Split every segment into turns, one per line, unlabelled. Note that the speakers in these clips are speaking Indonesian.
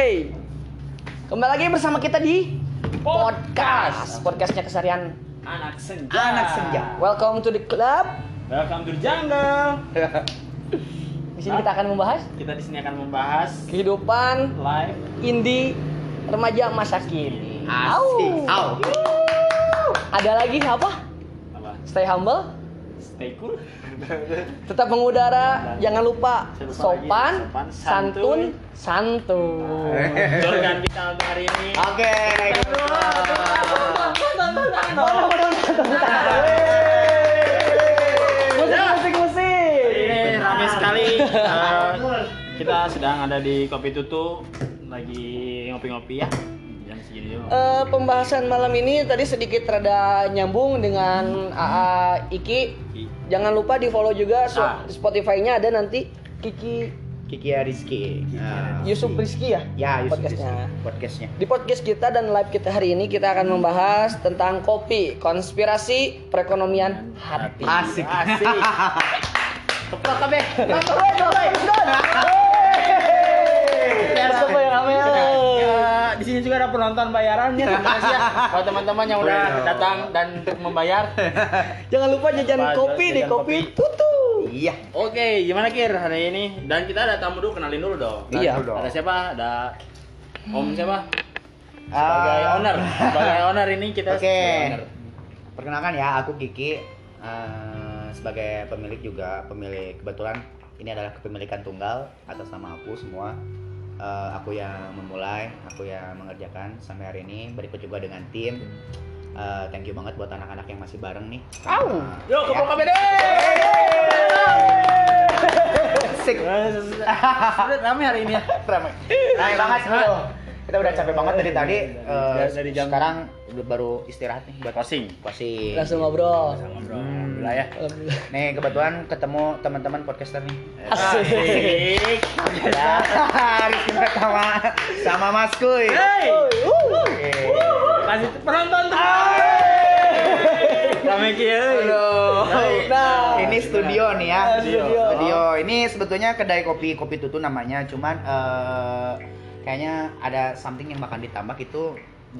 Hey, kembali lagi bersama kita di podcast, podcastnya kesarian
Anak senja.
anak senja. Welcome to the club.
Welcome to the jungle.
Di sini kita akan membahas
Kita di sini akan membahas
kehidupan
live.
indie remaja masa kini. Au.
Asik. Au.
Ada lagi apa?
Apa?
Stay humble,
Stay cool.
tetap mengudara,
Dan
jangan lupa
jangan lupa
sopan,
lagi, sopan,
santun, santun.
Jorgan kita untuk hari ini.
Oke, naik.
Eh.
Musik, musik, musik.
Hari ini ramai sekali. Eh, kita sedang ada di Kopi Tutu lagi ngopi-ngopi ya. Jam segini dulu.
Eh, pembahasan malam ini tadi sedikit rada nyambung dengan AA Iki. Jangan lupa di follow juga so-
Ah.
Spotify-nya ada nanti Kiki
Kiki Ariski.
Yusuf Rizky ya.
Ah, Ya, Yusuf
podcastnya.
Rizky. Podcastnya.
Di podcast kita dan live kita hari ini kita akan membahas tentang kopi, konspirasi, perekonomian hati.
Asik.
Asik. Tepat kabe.
Siapa yang rame?
Eh, di sini juga ada penonton bayarannya. Terima kasih ya buat teman-teman yang udah
Waduh.
datang dan membayar.
Jangan lupa jajan
Lupa
kopi di
jajan
kopi
kopi.
tutu.
Iya.
Oke, gimana Kir hari ini? Dan kita ada tamu dulu, kenalin dulu dong.
Iya.
Ada siapa? Ada Om siapa? Sebagai
Ah.
owner. Sebagai owner ini kita
Oke.
sebagai owner.
Perkenalkan ya, aku Kiki eh, sebagai pemilik juga pemilik kebetulan ini adalah kepemilikan tunggal atas nama aku semua. Eh, aku yang memulai, aku yang mengerjakan sampai hari ini. Berikut juga dengan tim. Eh, thank you banget buat anak-anak yang masih bareng nih. Ya.
Au.
Yo, ke Pro KBD.
Asik.
Sudah rame hari ini ya.
Ramai. Ramai banget bro. Kita udah capek banget dari tadi. eh,
Dari- dari jam-
sekarang udah baru istirahat nih buat
Closing.
posting.
Langsung ngobrol.
Ngobrol. Alhamdulillah ya.
Alhamdulillah.
Nih kebetulan ketemu teman-teman podcaster nih.
Asik.
Asik.
Ya, Rizky pertama sama Mas Kuy.
Hey.
Uh.
Oke.
Kasih penonton. Rame Kir.
Aduh.
Nah.
Ini studio nih ya.
Studio.
Studio. Ini sebetulnya kedai kopi kopi tutu namanya. Cuman eh, kayaknya ada something yang bakal ditambah itu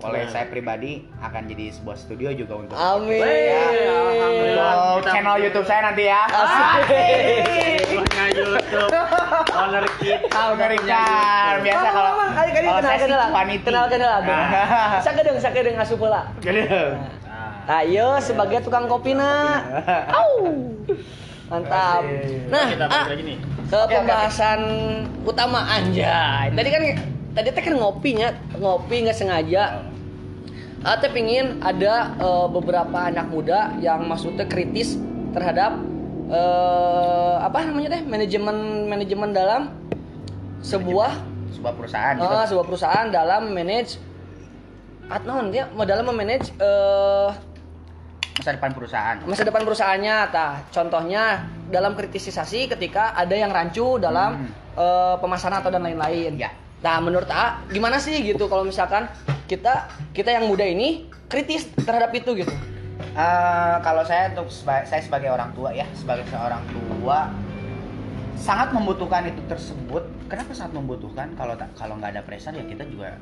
oleh
Nah.
saya pribadi akan jadi sebuah studio juga untuk
Amin.
Wey, alhamdulillah.
Untuk channel YouTube saya nanti ya.
Ah, Asik.
Punya YouTube. Nah, Owner kita
Tahu
udah
dari
punya
kan
YouTube.
biasa kalau
kali kali
kalau
kenal
saya
kenal
sih Ah. wanita.
kenal kenal
Nah.
sakedeng sakedeng asup pola
Gede.
Nah.
ayo sebagai tukang kopi na au mantap nah
kita
ah,
balik lagi nih.
ke pembahasan utama anjay tadi kan tadi teh kan ngopinya ngopi nggak sengaja Ah, teh pingin ada eh, beberapa anak muda yang maksudnya kritis terhadap eh, apa namanya teh manajemen manajemen dalam sebuah
Sebuah perusahaan. gitu.
Ah, sebuah perusahaan dalam manage Atnon dia mau dalam memanage eh,
Masa depan perusahaan.
masa depan perusahaannya tah contohnya dalam kritisisasi ketika ada yang rancu dalam eh, pemasaran atau dan lain-lain
Ya.
nah menurut A gimana sih gitu kalau misalkan kita kita yang muda ini kritis terhadap itu gitu
Eh, kalau saya untuk seba- saya sebagai orang tua ya, sebagai seorang tua sangat membutuhkan itu tersebut. Kenapa sangat membutuhkan? Kalau tak- kalau nggak ada pressure ya kita juga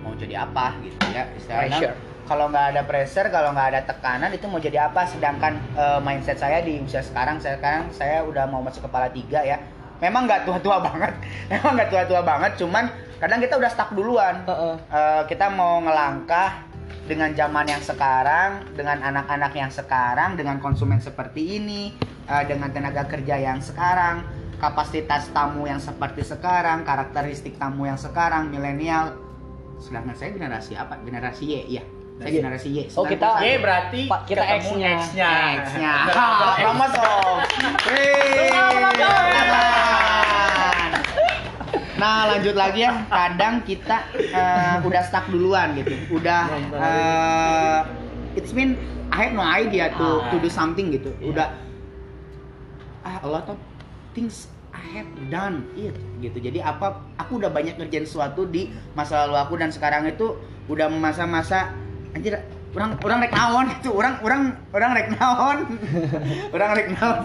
mau jadi apa gitu ya istilahnya.
Pressure.
Kalau nggak ada pressure, kalau nggak ada tekanan itu mau jadi apa? Sedangkan eh, mindset saya di usia sekarang, saya sekarang saya udah mau masuk kepala tiga ya. Memang nggak tua-tua banget, memang nggak tua-tua banget. Cuman kadang kita udah stuck duluan.
Heeh.
Eh, kita mau ngelangkah dengan zaman yang sekarang, dengan anak-anak yang sekarang, dengan konsumen seperti ini, eh, dengan tenaga kerja yang sekarang, kapasitas tamu yang seperti sekarang, karakteristik tamu yang sekarang, milenial. Sedangkan saya generasi apa? Generasi Y, iya. Saya
Y.
generasi Y.
Oh, kita-
Y berarti
Pak, kita
ketemu
X-nya.
X-nya.
X-nya. Kromosom. Wih. Nah lanjut lagi ya, kadang kita eh, udah stuck duluan gitu, udah eh, it's mean I have no idea to to do something gitu, udah ah, a lot of things I have done it gitu. Jadi apa aku udah banyak ngerjain sesuatu di masa lalu aku dan sekarang itu udah masa-masa anjir orang orang rek naon itu orang orang orang rek naon orang rek naon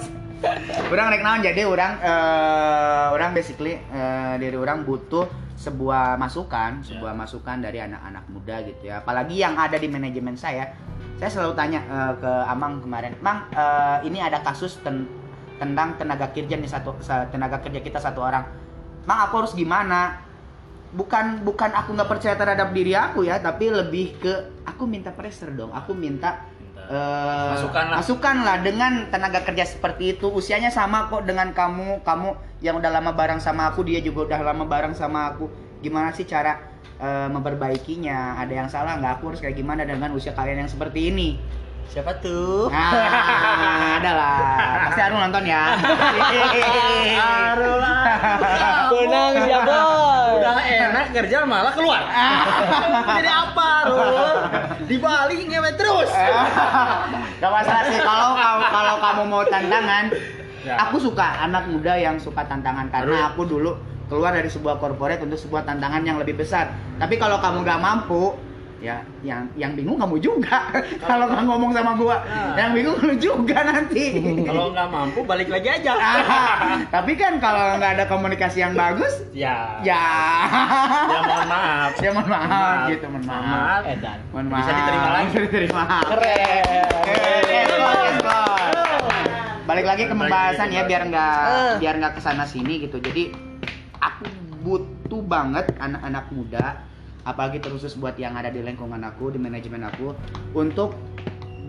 orang rek naon jadi orang eh, orang basically eh, diri orang butuh sebuah masukan, sebuah masukan dari anak-anak muda gitu ya. Apalagi yang ada di manajemen saya. Saya selalu tanya eh, ke Amang kemarin, "Mang, eh, ini ada kasus ten- tentang tenaga kerja nih satu sa- tenaga kerja kita satu orang. Mang, aku harus gimana?" Bukan bukan aku nggak percaya terhadap diri aku ya, tapi lebih ke aku minta pressure dong. Aku minta eh,
Masukan lah.
masukan lah dengan tenaga kerja seperti itu usianya sama kok dengan kamu kamu yang udah lama bareng sama aku dia juga udah lama bareng sama aku gimana sih cara eh, memperbaikinya ada yang salah nggak aku harus kayak gimana dengan usia kalian yang seperti ini
Siapa tuh?
nah ada lah pasti harus nonton ya
Benang
ya,
siapa?
Udah enak kerja malah keluar. Jadi apa Rul? Di Bali ngewe terus.
Gak masalah sih kalau kalau kalau kamu mau tantangan,
Ya.
aku suka anak muda yang suka tantangan karena aku dulu keluar dari sebuah korporat untuk sebuah tantangan yang lebih besar. Tapi kalau kamu gak mampu, ya yang yang bingung kamu juga. kalau kamu ngomong sama gua,
Ya.
yang bingung lu juga nanti.
Kalau nggak mampu balik lagi aja.
Ah, tapi kan kalau nggak ada komunikasi yang bagus,
Ya.
ya,
Ya mohon maaf.
ya mohon maaf,
Maaf.
gitu, mohon maaf,
Maaf.
Edan.
mohon maaf,
Bisa diterima lagi.
Bisa diterima.
Keren.
Oke, oke, oke. Balik lagi ke
Balik
pembahasan
lagi
ya
ke
biar nggak
Eh.
biar nggak kesana sini gitu. Jadi aku butuh banget anak-anak muda, apalagi terusus buat yang ada di lingkungan aku, di manajemen aku, untuk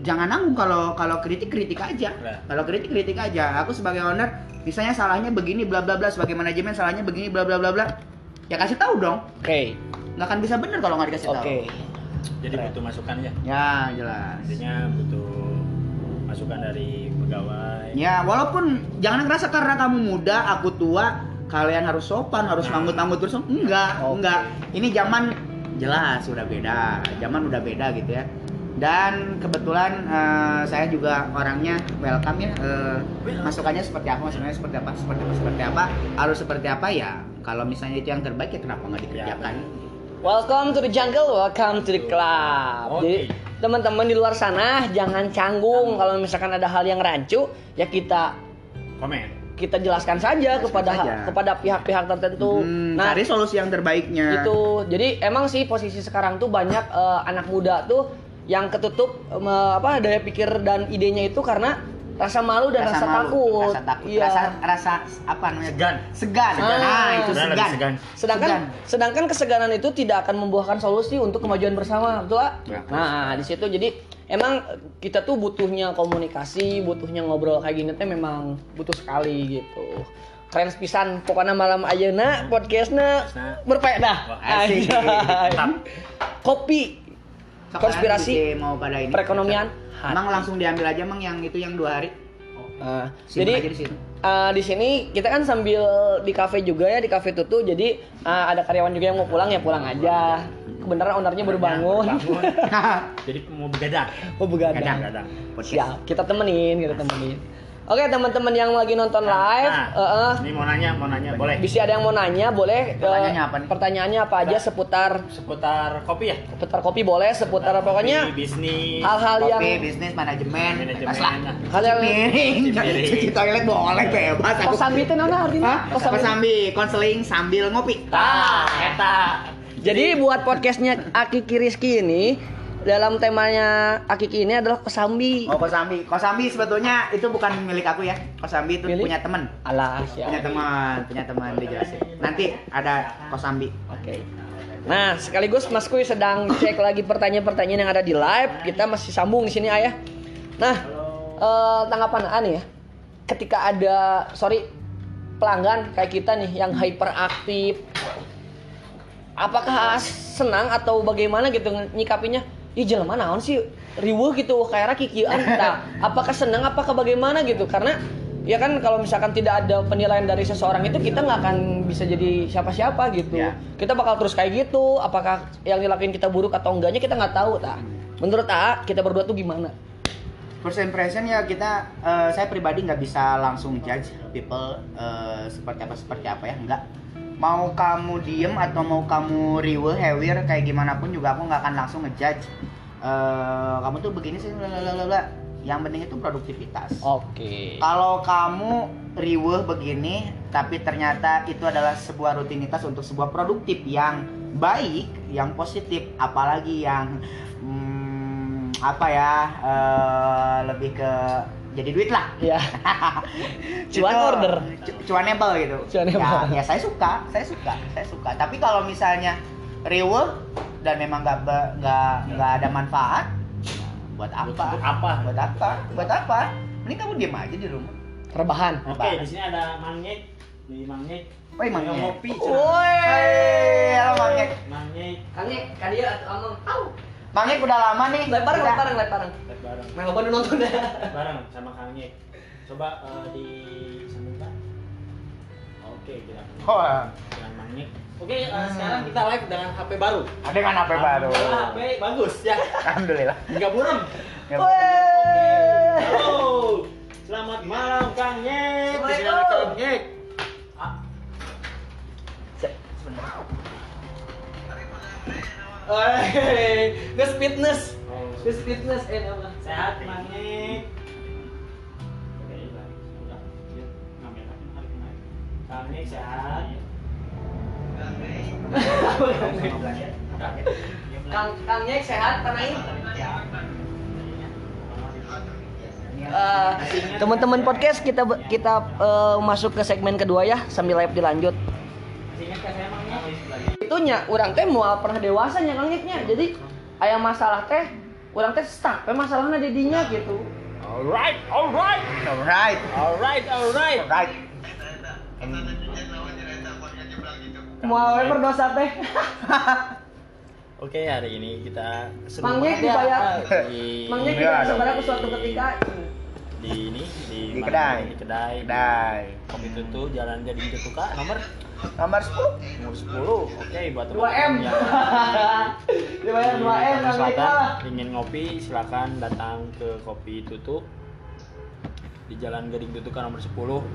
jangan nanggung kalau kalau kritik kritik aja.
Nah.
Kalau kritik kritik aja. Aku sebagai owner, misalnya salahnya begini bla bla bla, sebagai manajemen salahnya begini bla bla bla bla. Ya kasih tahu dong.
Oke.
Nggak akan bisa bener kalau nggak dikasih tahu.
Oke.
Jadi butuh masukan ya.
Ya jelas.
Intinya butuh masukan dari pegawai.
Ya, walaupun jangan ngerasa karena kamu muda, aku tua, kalian harus sopan, harus mangut-mangut terus. Enggak,
Oke.
enggak. Ini zaman jelas udah beda, zaman udah beda gitu ya. Dan kebetulan eh, saya juga orangnya welcome ya. eh, masukannya seperti apa, masukannya seperti apa, seperti apa, seperti apa, harus seperti apa ya. Kalau misalnya itu yang terbaik ya kenapa nggak dikerjakan?
Iya, Welcome to the jungle, welcome to the club.
Oke.
Jadi teman-teman di luar sana jangan canggung kalau misalkan ada hal yang rancu ya kita
Komen.
kita jelaskan saja
Jelaskan
kepada
saja.
kepada pihak-pihak tertentu.
Hmm,
nah,
cari solusi yang terbaiknya.
itu jadi emang sih posisi sekarang tuh banyak eh, anak muda tuh yang ketutup em, apa daya pikir dan idenya itu karena rasa malu dan rasa, takut.
malu, rasa takut,
Iya.
rasa, rasa apa namanya?
Segan.
Segan.
Segan.
Nah,
Sebenarnya
itu segan.
lebih segan.
Sedangkan sedangkan keseganan itu tidak akan membuahkan solusi untuk kemajuan bersama, betul Pak?
Ya,
nah, di situ jadi emang kita tuh butuhnya komunikasi, butuhnya ngobrol kayak gini teh memang butuh sekali gitu. Keren pisan pokoknya malam ayeuna
Hmm.
podcastnya berfaedah.
Wah,
asik.
Anjay.
Mantap.
Kopi
Sekarang
konspirasi
kita mau pada ini.
perekonomian.
Emang langsung diambil aja emang yang itu yang dua hari.
Nah,
Simpen
jadi
aja di situ.
eh, di sini kita kan sambil di kafe juga ya di kafe tutu jadi eh, ada karyawan juga yang mau pulang ya pulang aja kebenaran ownernya baru bangun
Bangun. Jadi mau begadang.
oh begadang
Begadang.
siap kita temenin kita temenin oke teman-teman yang lagi nonton live
Nah,
eh, eh,
ini mau nanya, mau nanya, boleh?
bisa ada yang mau nanya boleh eh,
Pertanyaannya apa nih? Nah.
pertanyaannya apa aja seputar
Seputar kopi ya?
seputar kopi boleh seputar pokoknya
Kopi, bisnis,
hal-hal yang
Nah, Kopi, bisnis, manajemen, bebas lah.
manajemen.
hal yang
Cuci Piring,
Piring.
cuci toilet boleh bebas. Aku
kosambi teh naon artinya
Hah?
Kosambi.
Kosambi, konseling sambil ngopi.
Tah,
eta.
Jadi buat podcastnya Akiki Rizky ini dalam temanya Akiki ini adalah kesambi.
Oh, Kosambi. Kosambi sebetulnya itu bukan milik aku ya. Kosambi itu
Milik?
punya temen.
Alah ya.
Punya teman, punya teman dijelasin. Nanti ada Kosambi.
Oke. Nah, sekaligus Mas Kuy sedang cek lagi pertanyaan-pertanyaan yang ada di live. Kita masih sambung di sini Ayah. Nah, eh, tanggapan Aan ya. Ketika ada sorry pelanggan kayak kita nih yang hyperaktif apakah senang atau bagaimana gitu nyikapinya Ih jelema naon sih riweuh gitu kayaknya kikian Nah, apakah senang apakah bagaimana gitu karena ya kan kalau misalkan tidak ada penilaian dari seseorang itu kita nggak akan bisa jadi siapa-siapa gitu
Ya.
kita bakal terus kayak gitu apakah yang dilakuin kita buruk atau enggaknya kita nggak tahu tak menurut A kita berdua tuh gimana
First impression ya kita, eh, saya pribadi nggak bisa langsung judge people eh, seperti apa seperti apa ya nggak. Mau kamu diem atau mau kamu riweuh hewir kayak gimana pun juga aku nggak akan langsung ngejudge. Eh, kamu tuh begini sih, bla bla bla bla. Yang penting itu produktivitas.
Oke.
Kalau kamu riweh begini, tapi ternyata itu adalah sebuah rutinitas untuk sebuah produktif yang baik, yang positif, apalagi yang hmm, apa ya eh, lebih ke jadi duit lah.
Ya. Cuan
Itu,
order.
cu- cuanable gitu.
Cuanable.
Ya, ya saya suka, saya suka, saya suka. Tapi kalau misalnya riweh dan memang nggak be- nggak nggak ada manfaat, buat apa?
Buat- buat apa?
Buat apa? Buat apa? Mending kamu diem aja di rumah.
Rebahan.
Oke, di sini ada Mangnyek. Di Mangnyek.
Oh,
Woi,
iya,
Mang
Ayo
Nyek.
ngopi.
Woi.
Hei, halo Mang Nyek.
Mangnyek.
Kangnya, kalian atau amang, au,
Mang Nyek udah lama nih.
lempar,
kita-
lempar, lempar.
Bareng.
Main loba nu nonton ya. dah.
Bareng sama Kang Nyek. Coba eh, di samping Pak. Oke, kita
Oh,
dengan Mangnyek. Oke, eh, sekarang kita live dengan HP baru.
ada kan HP baru.
Alhamdulillah, HP bagus ya.
Alhamdulillah.
Enggak buram.
Ya,
Woi.
Halo. Selamat malam Kang Nyek. Di sini ada Kang Nyek. Ah,
Hei, geus fitness.
oh,
Geus fitness eh apa?
sehat manis kami sehat
Kang Kang Nyek sehat Panain. Eh, teman-teman podcast kita kita eh, masuk ke segmen kedua ya sambil live dilanjut. Itunya orang teh mau pernah dewasanya Kang Nyeknya. Jadi aya masalah teh orang teh stuck pe masalahna di dinya gitu.
alright alright
Alright.
alright alright
Alright.
Mau we berdosa teh.
Oke hari ini kita
Mang Nyek
sebelumnya
dibayar.
di,
Mang Nyek
Iya,
kita sebenarnya
dong.
suatu ketika
di ini di,
Di
mana?
kedai.
di kedai
Kedai.
kopi tutu jalan gading Ketuka nomor
Nomor 10.
nomor 10 oke buat
2M.
teman-teman yang-
Dibayar 2M Kang
Di
Nyek
Iya, Selatan,
lah.
ingin ngopi silakan datang ke kopi tutup di Jalan Gading Tutukan nomor 10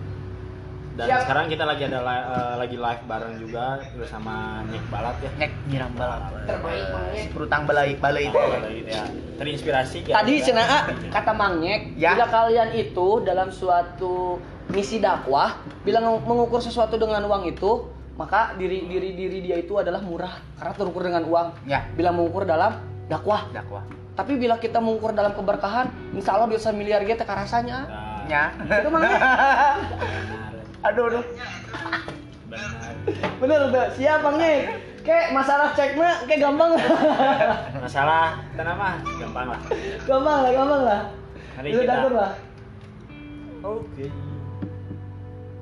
dan
Siap.
sekarang kita lagi ada li- eh, lagi live bareng juga bersama Nick Balat ya.
Nyek nyiram balap.
Terbaik, Mang Nyek.
Perutang balai balai itu.
Balat itu ya. Terinspirasi kan?
Tadi Cina A, kata Mang Nyek,
Ya.
bila kalian itu dalam suatu misi dakwah, bila nge- mengukur sesuatu dengan uang itu, maka diri diri diri dia itu adalah murah karena terukur dengan uang.
Ya.
Bila mengukur dalam dakwah.
Dakwah.
Tapi bila kita mengukur dalam keberkahan, insya Allah dosa miliar gitu rasanya.
Nah,
Ya.
Itu Mang Nyek.
benar,
Aduh, aduh.
benar.
Bener tuh, siap Mang Nyek. Kayak masalah cek mah, kayak gampang lah.
Masalah tanah mah gampang lah.
gampang lah, gampang lah.
Mari
Lu
kita-
dapur lah.
Oke.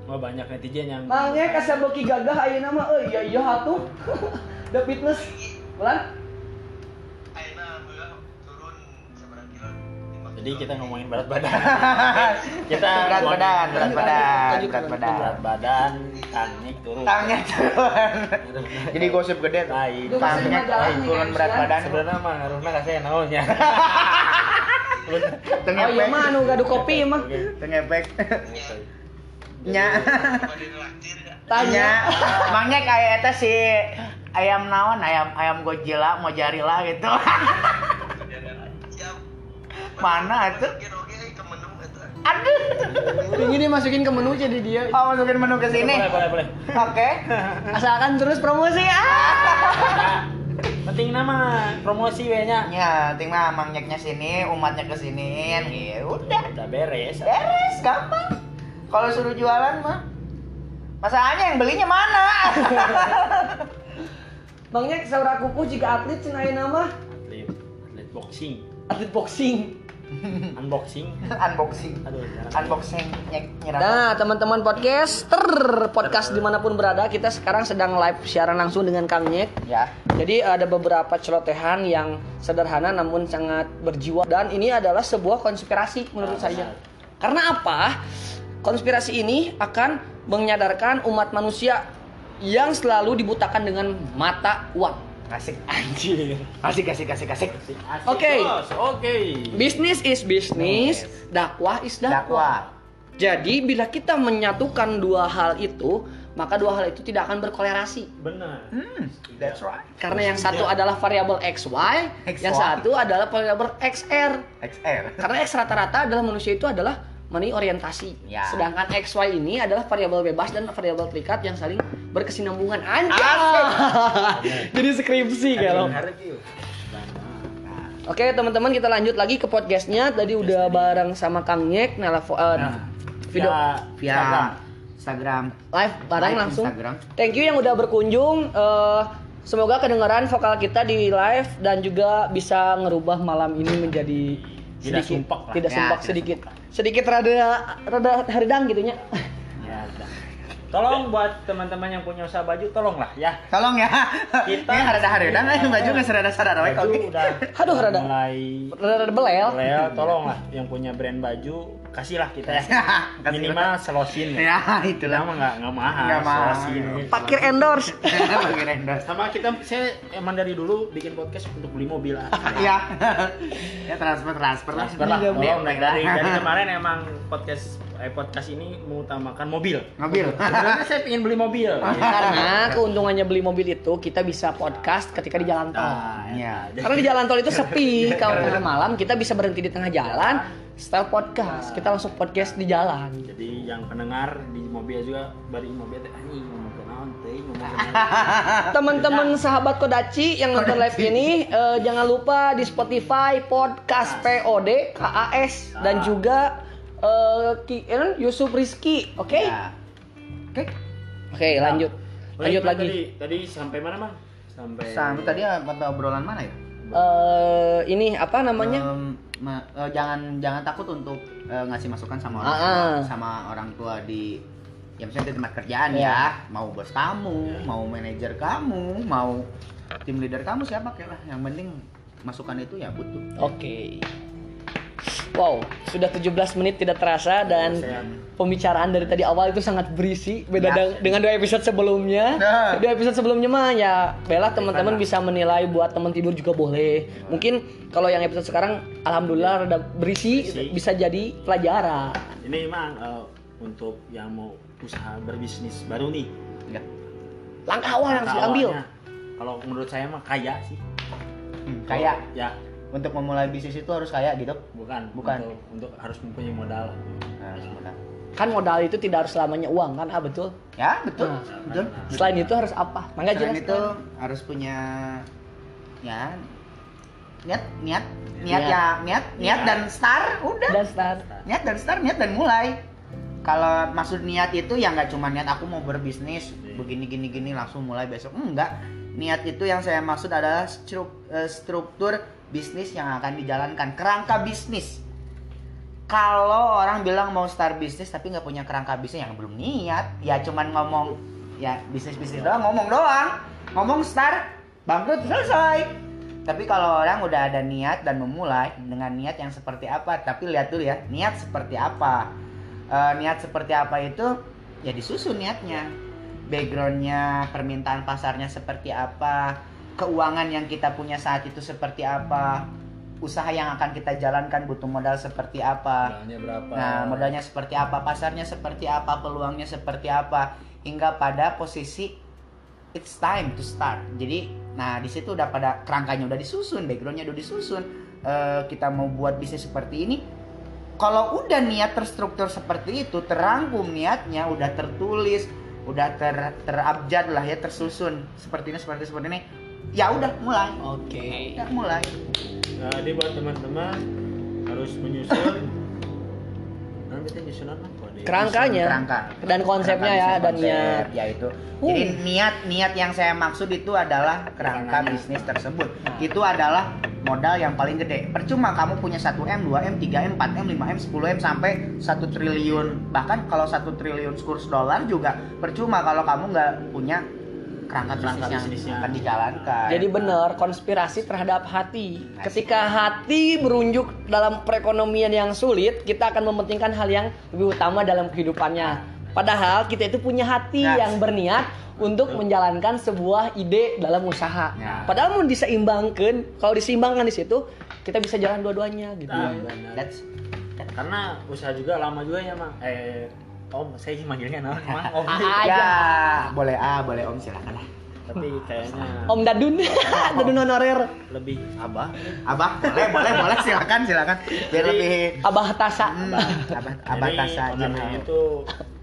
Wah banyak netizen yang
Mangnya kasaboki gagah ayeuna mah euy ya iya hatuh. The fitness. Ulan?
Jadi kita ngomongin berat badan. kita
Berat
ngomongin
badan, berat badan,
Lanjut,
berat
lanjut.
badan.
berat badan tanik turun
Tangnya turun. Jadi gosip gede tuh.
lain
Duh,
Tang-
kasih
Tangnya
majalah nih,
turun berat
kasihan.
badan.
sebenarnya mah ngaruhna ka saya ya. naonnya
Oh iya
Tengepek.
mah anu gaduh kopi mah.
Oke.
Tengepek.
Jadi,
Nya. Iya.
Tanya.
Mangnya kayak eta si ayam naon, ayam ayam Godzilla, mau jarila gitu. Mana itu? Aduh.
Ini dimasukin ke menu jadi dia.
Oh, masukin menu ke sini.
boleh boleh boleh
Oke.
Asalkan terus promosi ah.
Nah, penting nama promosi we nya
Ya, ting mah mangyeknya sini, umatnya ke sini. Ya udah,
udah beres
beres, gampang. Kalau suruh jualan mah Masalahnya yang belinya mana?
Mangnya saudara kuku jika atlet cina ayeuna mah
atlet atlet boxing
atlet boxing.
unboxing
Unboxing.
aduh jarang.
Unboxing nyek nyiram.
Nah, teman-teman podcaster, podcast dimanapun berada, kita sekarang sedang live siaran langsung dengan Kang Nyek.
Ya.
Jadi ada beberapa celotehan yang sederhana namun sangat berjiwa dan ini adalah sebuah konspirasi menurut
Ah,
saya.
benar.
Karena apa? Konspirasi ini akan menyadarkan umat manusia yang selalu dibutakan dengan mata uang.
Asik.
anjir
Asik, asik, asik, asik.
Asik, asik,
Oke.
bos. oke
Bisnis is bisnis, dakwah is dakwah.
Dakwah.
Jadi bila kita menyatukan dua hal itu, maka dua hal itu tidak akan berkolerasi.
Benar.
Hmm, that's right.
Karena yang satu adalah variabel XY, yang
XY.
satu adalah variabel XR.
XR.
Karena X rata-rata adalah manusia itu adalah money orientasi.
Ya.
Sedangkan XY ini adalah variabel bebas dan variabel terikat yang saling berkesinambungan. Anjay. Jadi skripsi kalau. Oke teman-teman kita lanjut lagi ke podcastnya. Tadi udah bareng sama Kang Nyek, nelfon eh,
Nah,
video
Via
Ya, Instagram.
Instagram.
live bareng
Live
langsung.
Instagram.
Thank you yang udah berkunjung. Eh, semoga kedengaran vokal kita di live dan juga bisa ngerubah malam ini menjadi
Tidak
sedikit
sumpek lah.
tidak
Ya,
sumpek
tidak
sedikit sedikit rada rada herdang gitunya.
Ya, udah. Tolong buat teman-teman yang punya usaha baju tolonglah ya.
Tolong ya.
Kita-
Kita ya, harada harada
Iya.
baju nggak serada serada oke.
Baju udah
Aduh, rada.
mulai
Rada belel.
Leo, tolonglah yang punya brand baju kasihlah kita ya.
Kasih
Minimal selosin.
Ya
Itu
itulah.
lama nggak nggak mahal.
Nggak mahal.
Selosin.
Parkir endorse.
Bagi Rendra.
Sama kita saya emang dari dulu bikin podcast untuk beli mobil. ah.
Iya. Ya transfer transfer lah.
Transfer lah, tolong.
Iya,
dari, dari, dari kemarin emang podcast eh, podcast ini mengutamakan mobil.
Mobil.
Sebenarnya saya pengen beli mobil.
Ah.
Karena keuntungannya beli mobil itu kita bisa podcast ketika di jalan tol.
Nah,
Iya.
Karena di jalan tol itu sepi, kalau tengah malam kita bisa berhenti di tengah jalan, style podcast. Kita langsung podcast di jalan.
Jadi yang pendengar di mobil juga bari mobil teh anjing ngomong ke naon teh ngomong ke naon.
Teman-teman sahabat Kodachi yang nonton live ini eh, jangan lupa di Spotify podcast POD KAS dan juga eh, Ki- eh, Yusuf Rizky, oke?
Ya.
Oke. Oke, lanjut.
Oh,
Lanjut
iya,
lagi.
Tadi, tadi sampai mana, Bang? Sampai
Sama tadi apa obrolan mana ya?
Eh, ini apa namanya?
Em, ma- eh, jangan jangan takut untuk eh, ngasih masukan sama orang
Ah, ah.
tua, sama orang tua di ya misalnya di tempat kerjaan
Iya.
ya mau bos kamu mau manajer kamu mau tim leader kamu siapa kayak lah yang penting masukan itu ya butuh
Oke. Wow, sudah 17 menit tidak terasa dan
Saya-
pembicaraan dari tadi awal itu sangat berisi beda
Iya, Ya.
deng- dengan dua episode sebelumnya.
Nah.
Dua episode sebelumnya mah ya bela teman-teman bisa menilai buat teman tidur juga boleh. Mungkin kalau yang episode sekarang alhamdulillah rada berisi,
Berisi.
bisa jadi pelajaran.
ini Mang eh, untuk yang mau usaha berbisnis baru nih.
ya
Langkah awal yang harus
Langkah
diambil.
awalnya, Kalau menurut saya mah kaya sih.
Hmm, kayak
Kalau- Ya,
untuk memulai bisnis itu harus kayak gitu
bukan
Bukan.
Untuk, untuk harus mempunyai modal.
Nah, sebentar.
Kan modal itu tidak harus selamanya uang kan? Ah betul.
ya betul
Nah,
betul
Selain itu harus apa? Mangga
Selain
jelas.
itu harus punya ya niat niat niat
Niat.
ya niat niat dan star udah
Dan start.
niat dan start niat dan mulai kalau maksud niat itu ya nggak cuma niat aku mau berbisnis begini gini gini langsung mulai besok enggak niat itu yang saya maksud adalah stru- eh, struktur bisnis yang akan dijalankan kerangka bisnis kalau orang bilang mau start bisnis tapi nggak punya kerangka bisnis yang belum niat ya cuman ngomong ya bisnis bisnis doang ngomong doang ngomong start bangkrut selesai tapi kalau orang udah ada niat dan memulai dengan niat yang seperti apa tapi lihat dulu ya niat seperti apa Eh, niat seperti apa itu ya disusun niatnya backgroundnya permintaan pasarnya seperti apa keuangan yang kita punya saat itu seperti apa usaha yang akan kita jalankan butuh modal seperti apa
Modalnya berapa?
Ah. Nah, modalnya seperti apa, pasarnya seperti apa, peluangnya seperti apa, hingga pada posisi it's time to start. Jadi, nah di situ udah pada kerangkanya udah disusun, backgroundnya udah disusun. Eh, kita mau buat bisnis seperti ini. Kalau udah niat terstruktur seperti itu, terangkum niatnya, udah tertulis, udah ter terabjad lah ya, tersusun seperti ini, seperti seperti ini. Ya udah mulai,
Oke.
udah mulai.
Nah, jadi buat teman-teman harus menyusun nanti kita nyusun apa? Kode.
Kerangkanya.
Kerangka.
Dan konsepnya ya,
Kerangka
dan
bisnis
niat.
konsep, yaitu
Uh.
jadi niat niat yang saya maksud itu adalah kerangka
Kerangkanya.
bisnis tersebut
Nah.
itu adalah modal yang paling gede percuma kamu punya 1 m 2 m 3 m 4 m 5 m 10 m sampai 1 triliun bahkan kalau 1 triliun kurs dolar juga percuma kalau kamu nggak punya kerangka
Kerangka
bisnis yang
bisnisnya.
akan dijalankan
Jadi benar konspirasi terhadap hati. Ketika hati berunjuk dalam perekonomian yang sulit, kita akan mementingkan hal yang lebih utama dalam kehidupannya. Padahal kita itu punya hati
Nah.
yang berniat untuk menjalankan sebuah ide dalam usaha.
Ya.
Padahal mau diseimbangkan, kalau diseimbangkan di situ kita bisa jalan dua-duanya gitu.
Nah, benar.
that's that
karena usaha juga lama juga ya mang eh Om saya sih manggilnya nama Mang Om
Ah,
Ya,
aja.
boleh A, boleh Om silakan lah.
tapi kayaknya
Om Dadun, Dadun honorer,
lebih abah
Abah, boleh, boleh, boleh silakan, silakan. Biar
Jadi,
lebih
Abah Tasa.
Hmm, abah,
Jadi,
abah ya, tasa aja.
ownernya
Mang.
itu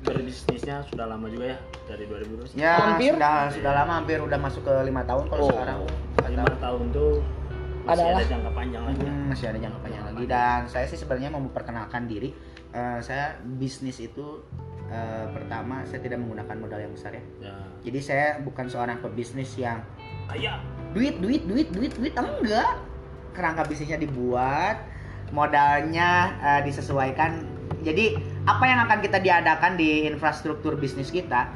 berbisnisnya sudah lama juga ya dari 2000
Ya,
Hampir?
sudah sudah lama hampir udah masuk ke lima tahun kalau
Oh.
sekarang.
lima tahun tuh masih
Adalah.
ada jangka panjang lagi ya.
Hmm, masih ada jangka panjang lagi dan saya sih sebenarnya mau memperkenalkan diri. Eh, saya bisnis itu eh, pertama saya tidak menggunakan modal yang besar ya.
ya
Jadi saya bukan seorang pebisnis yang
ayah
duit duit duit duit duit enggak kerangka bisnisnya dibuat modalnya eh, disesuaikan jadi apa yang akan kita diadakan di infrastruktur bisnis kita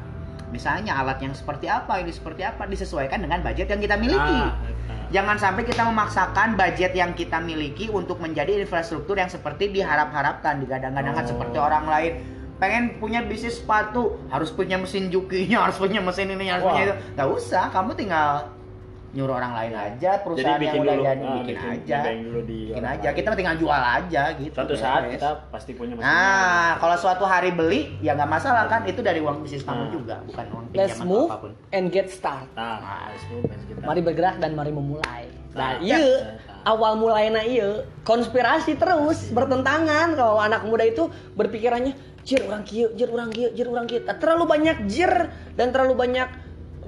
misalnya alat yang seperti apa ini seperti apa disesuaikan dengan budget yang kita miliki
Ah, ah.
jangan sampai kita memaksakan budget yang kita miliki untuk menjadi infrastruktur yang seperti diharap-harapkan digadang-gadangkan
Oh.
seperti orang lain pengen punya bisnis sepatu harus punya mesin jukinya harus punya mesin ini harus
Wah.
punya itu nggak usah kamu tinggal nyuruh orang lain aja
jadi
perusahaan
bikin
yang udah
dulu
jadi
ah,
bikin, aja
ngebayang dulu di
bikin
orang
aja
lain.
kita tinggal jual aja gitu
suatu saat
beres.
kita pasti punya
nah kalau suatu hari beli ya nggak masalah kan itu dari uang bisnis kamu
Nah.
juga bukan uang pinjaman
Let's
atau
move
apapun
and get start.
nah harus dulu fans kita
Mari bergerak dan mari memulai. Nah,
Nah,
iya,
nah.
awal mulainya iya, konspirasi terus bertentangan kalau anak muda itu berpikirannya jir orang kieu, jir orang kieu, jir orang kieu. Nah, Terlalu banyak jir dan terlalu banyak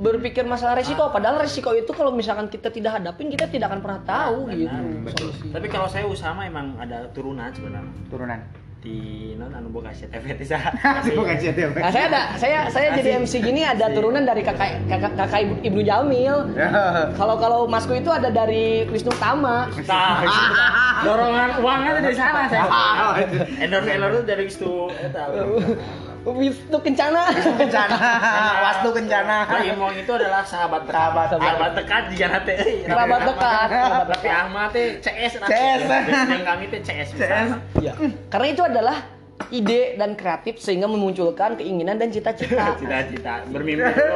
berpikir masalah
Ah.
resiko. Padahal resiko itu kalau misalkan kita tidak hadapin kita tidak akan pernah tahu
Benar,
gitu.
betul.
solusi.
tapi kalau saya usaha mah emang ada turunan sebenarnya
turunan
di non anu boga sia teh teh
bukan CTV
Nah, saya ada, saya saya jadi MC gini ada turunan dari kakak kakak, kakak Ibu- Ibnu Jamil.
Ya.
Kalau kalau Masku itu ada dari Krisnu Tama.
Nah, dorongan uangnya tuh dari sana saya.
Ah, itu.
Endorse endorse tuh gitu, ya dari situ eta.
Wisnu Kencana.
kencana
Kan
wastu kencana
Nah, Imong itu adalah sahabat dekat.
Sahabat dekat.
Sahabat dekat di jana teh.
Sahabat dekat.
Tapi Ahmad teh CS. nah.
CS.
Yang kami teh CS.
CS.
misalnya.
Iya. Karena itu adalah ide dan kreatif sehingga memunculkan keinginan dan cita-cita.
Iya, Cita-cita bermimpi dulu.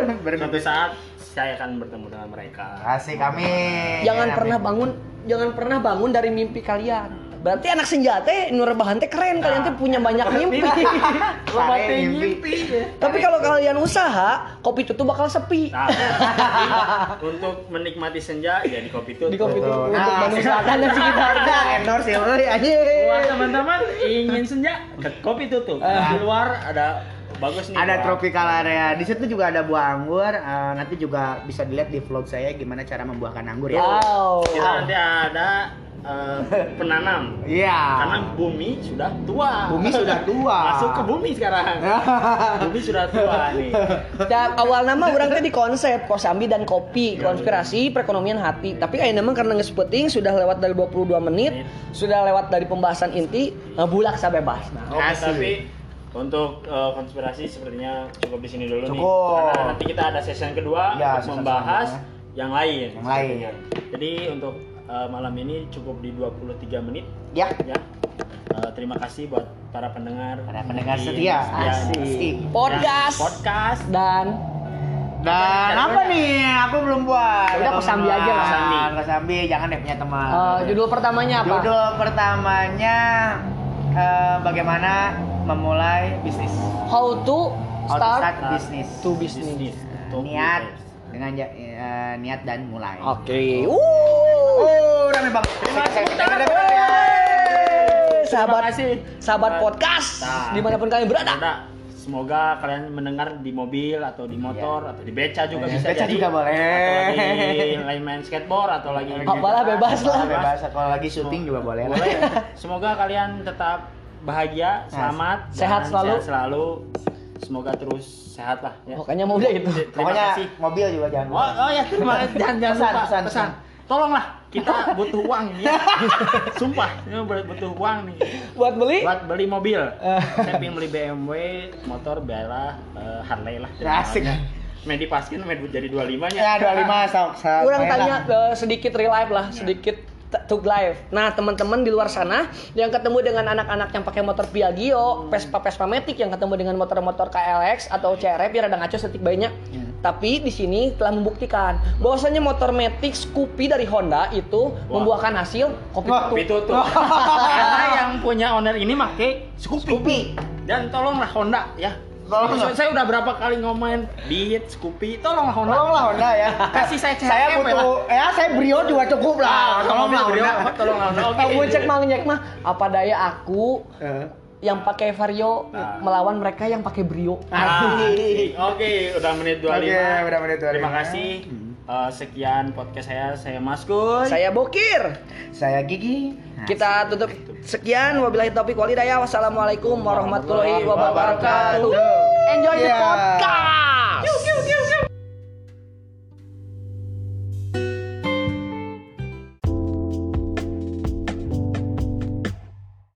Suatu
Bermimpi.
saat saya akan bertemu dengan mereka.
Asik amin.
jangan
Amin.
pernah bangun, jangan pernah bangun dari mimpi kalian. Berarti anak senja teh nu rebahan teh keren, kalian teh punya banyak mimpi.
Bapak
Tarik
teh
mimpi.
mimpi. ya.
Tapi kalau kalian usaha, kopi itu tuh bakal sepi.
Nah, untuk menikmati senja ya di kopi itu.
Di kopi itu
Betul.
gitu. untuk Iya.
Nah,
mengusahakan dan sekitar.
Udah endorse ya, woi, anjing.
Buat teman-teman ingin senja ke kopi tutup. Di luar ada bagus nih.
Ah. Ada
buah.
tropical area. Di situ juga ada buah anggur. Eh, nanti juga bisa dilihat di vlog saya gimana cara membuahkan anggur ya.
Wow.
Kita nanti ada eh, penanam.
Iya.
Karena bumi sudah tua.
Bumi sudah tua. Ya.
Masuk ke bumi sekarang. bumi sudah tua nih.
Da, Nah, awal nama orang teh di konsep kosambi dan kopi konspirasi perekonomian hati tapi kayak nama karena ngespeting sudah lewat dari 22 menit sudah lewat dari pembahasan inti ngebulak sabebas nah.
Oke,
Asik.
tapi untuk eh, konspirasi sepertinya cukup di sini dulu nih.
Cukup.
Karena nanti kita ada session kedua
Ya,
untuk
session
membahas
selanjutnya.
yang lain.
Yang lain.
sepertinya. Jadi untuk eh, malam ini cukup di 23 menit
Ya.
ya. Eh, terima kasih buat para pendengar.
Para pendengar
Di-
setia.
di-
Asik.
Podcast.
Ya, podcast.
dan
Dan
Apa
apa
nih?
nih? Aku belum buat.
Udah, kosambi aja lah.
Kosambi. Kosambi, jangan deh punya teman.
eh, judul pertamanya apa
Judul pertamanya eh, bagaimana memulai bisnis.
how to
How to
start
bisnis.
to business
Bisnis. Tuh,
niat
gitu.
dengan ja- eh, niat dan mulai.
oke Wuh.
Oh, rame banget. Terima kasih.
sahabat
kasih.
sahabat
Sahabat-
podcast
Nah.
dimanapun kalian berada
Ada. Semoga kalian mendengar di mobil atau di motor atau di beca juga
Iya,
bisa
beca
jadi.
juga boleh.
Atau lagi lagi main skateboard atau lagi
Apalah, bebas lah.
Bebas kalau lagi syuting juga boleh lah.
Boleh. Semoga kalian tetap bahagia, selamat,
Nah, sehat
dan
selalu.
sehat selalu. Semoga terus sehat lah ya.
pokoknya mau udah itu
Terima
Pokoknya
kasih.
mobil juga jangan.
Oh, oh ya, terima kasih. Jangan, jangan
Pesan,
lupa.
pesan, pesan.
Tolonglah, kita butuh uang ini. ya. Sumpah, ini butuh uang nih.
buat beli
Buat beli mobil. Saya pengen beli BMW, motor, bela, eh, Harley lah.
Asik.
Medi Paskin, Medi jadi 25
Ya
nya.
25 sok. sok.
kurang
Boleh
tanya
lah.
eh, sedikit real life
Iya.
lah, sedikit t- tug life. Nah, teman-teman di luar sana yang ketemu dengan anak-anak yang pakai motor E,
Hmm. Iya.
Piaggio, Vespa Vespa Matic yang ketemu dengan motor-motor KLX atau CRF biar ada ngaco setik banyak. Tapi di sini telah membuktikan bahwasanya motor Matic Scoopy dari Honda itu membuahkan hasil kopi
Wah,
tutup.
Kopi tutup. Karena yang punya owner ini make Scoopy. Dan tolonglah Honda ya.
Tolong.
Saya, saya udah berapa kali ngomongin Beat, Scoopy, tolonglah Honda.
Tolonglah Honda ya.
Kasih saya CHF
Saya butuh ya saya Brio juga cukup
Ah,
lah. Tolonglah
Brio,
Honda.
Tolonglah Honda. Oke.
Eh, gue cek mang nyek mah apa daya aku
Eh.
yang pakai Vario
Nah.
melawan mereka yang pakai Brio.
Ah, Oke, udah menit 25.
Oke, udah menit 25.
Terima kasih.
Hmm.
Eh, sekian podcast saya, saya Mas Kuy.
Saya bokir.
Saya Gigi.
Kita tutup sekian wabillahi taufiq walhidayah. Wassalamualaikum warahmatullahi wabarakatuh. Enjoy the
Yeah.
podcast.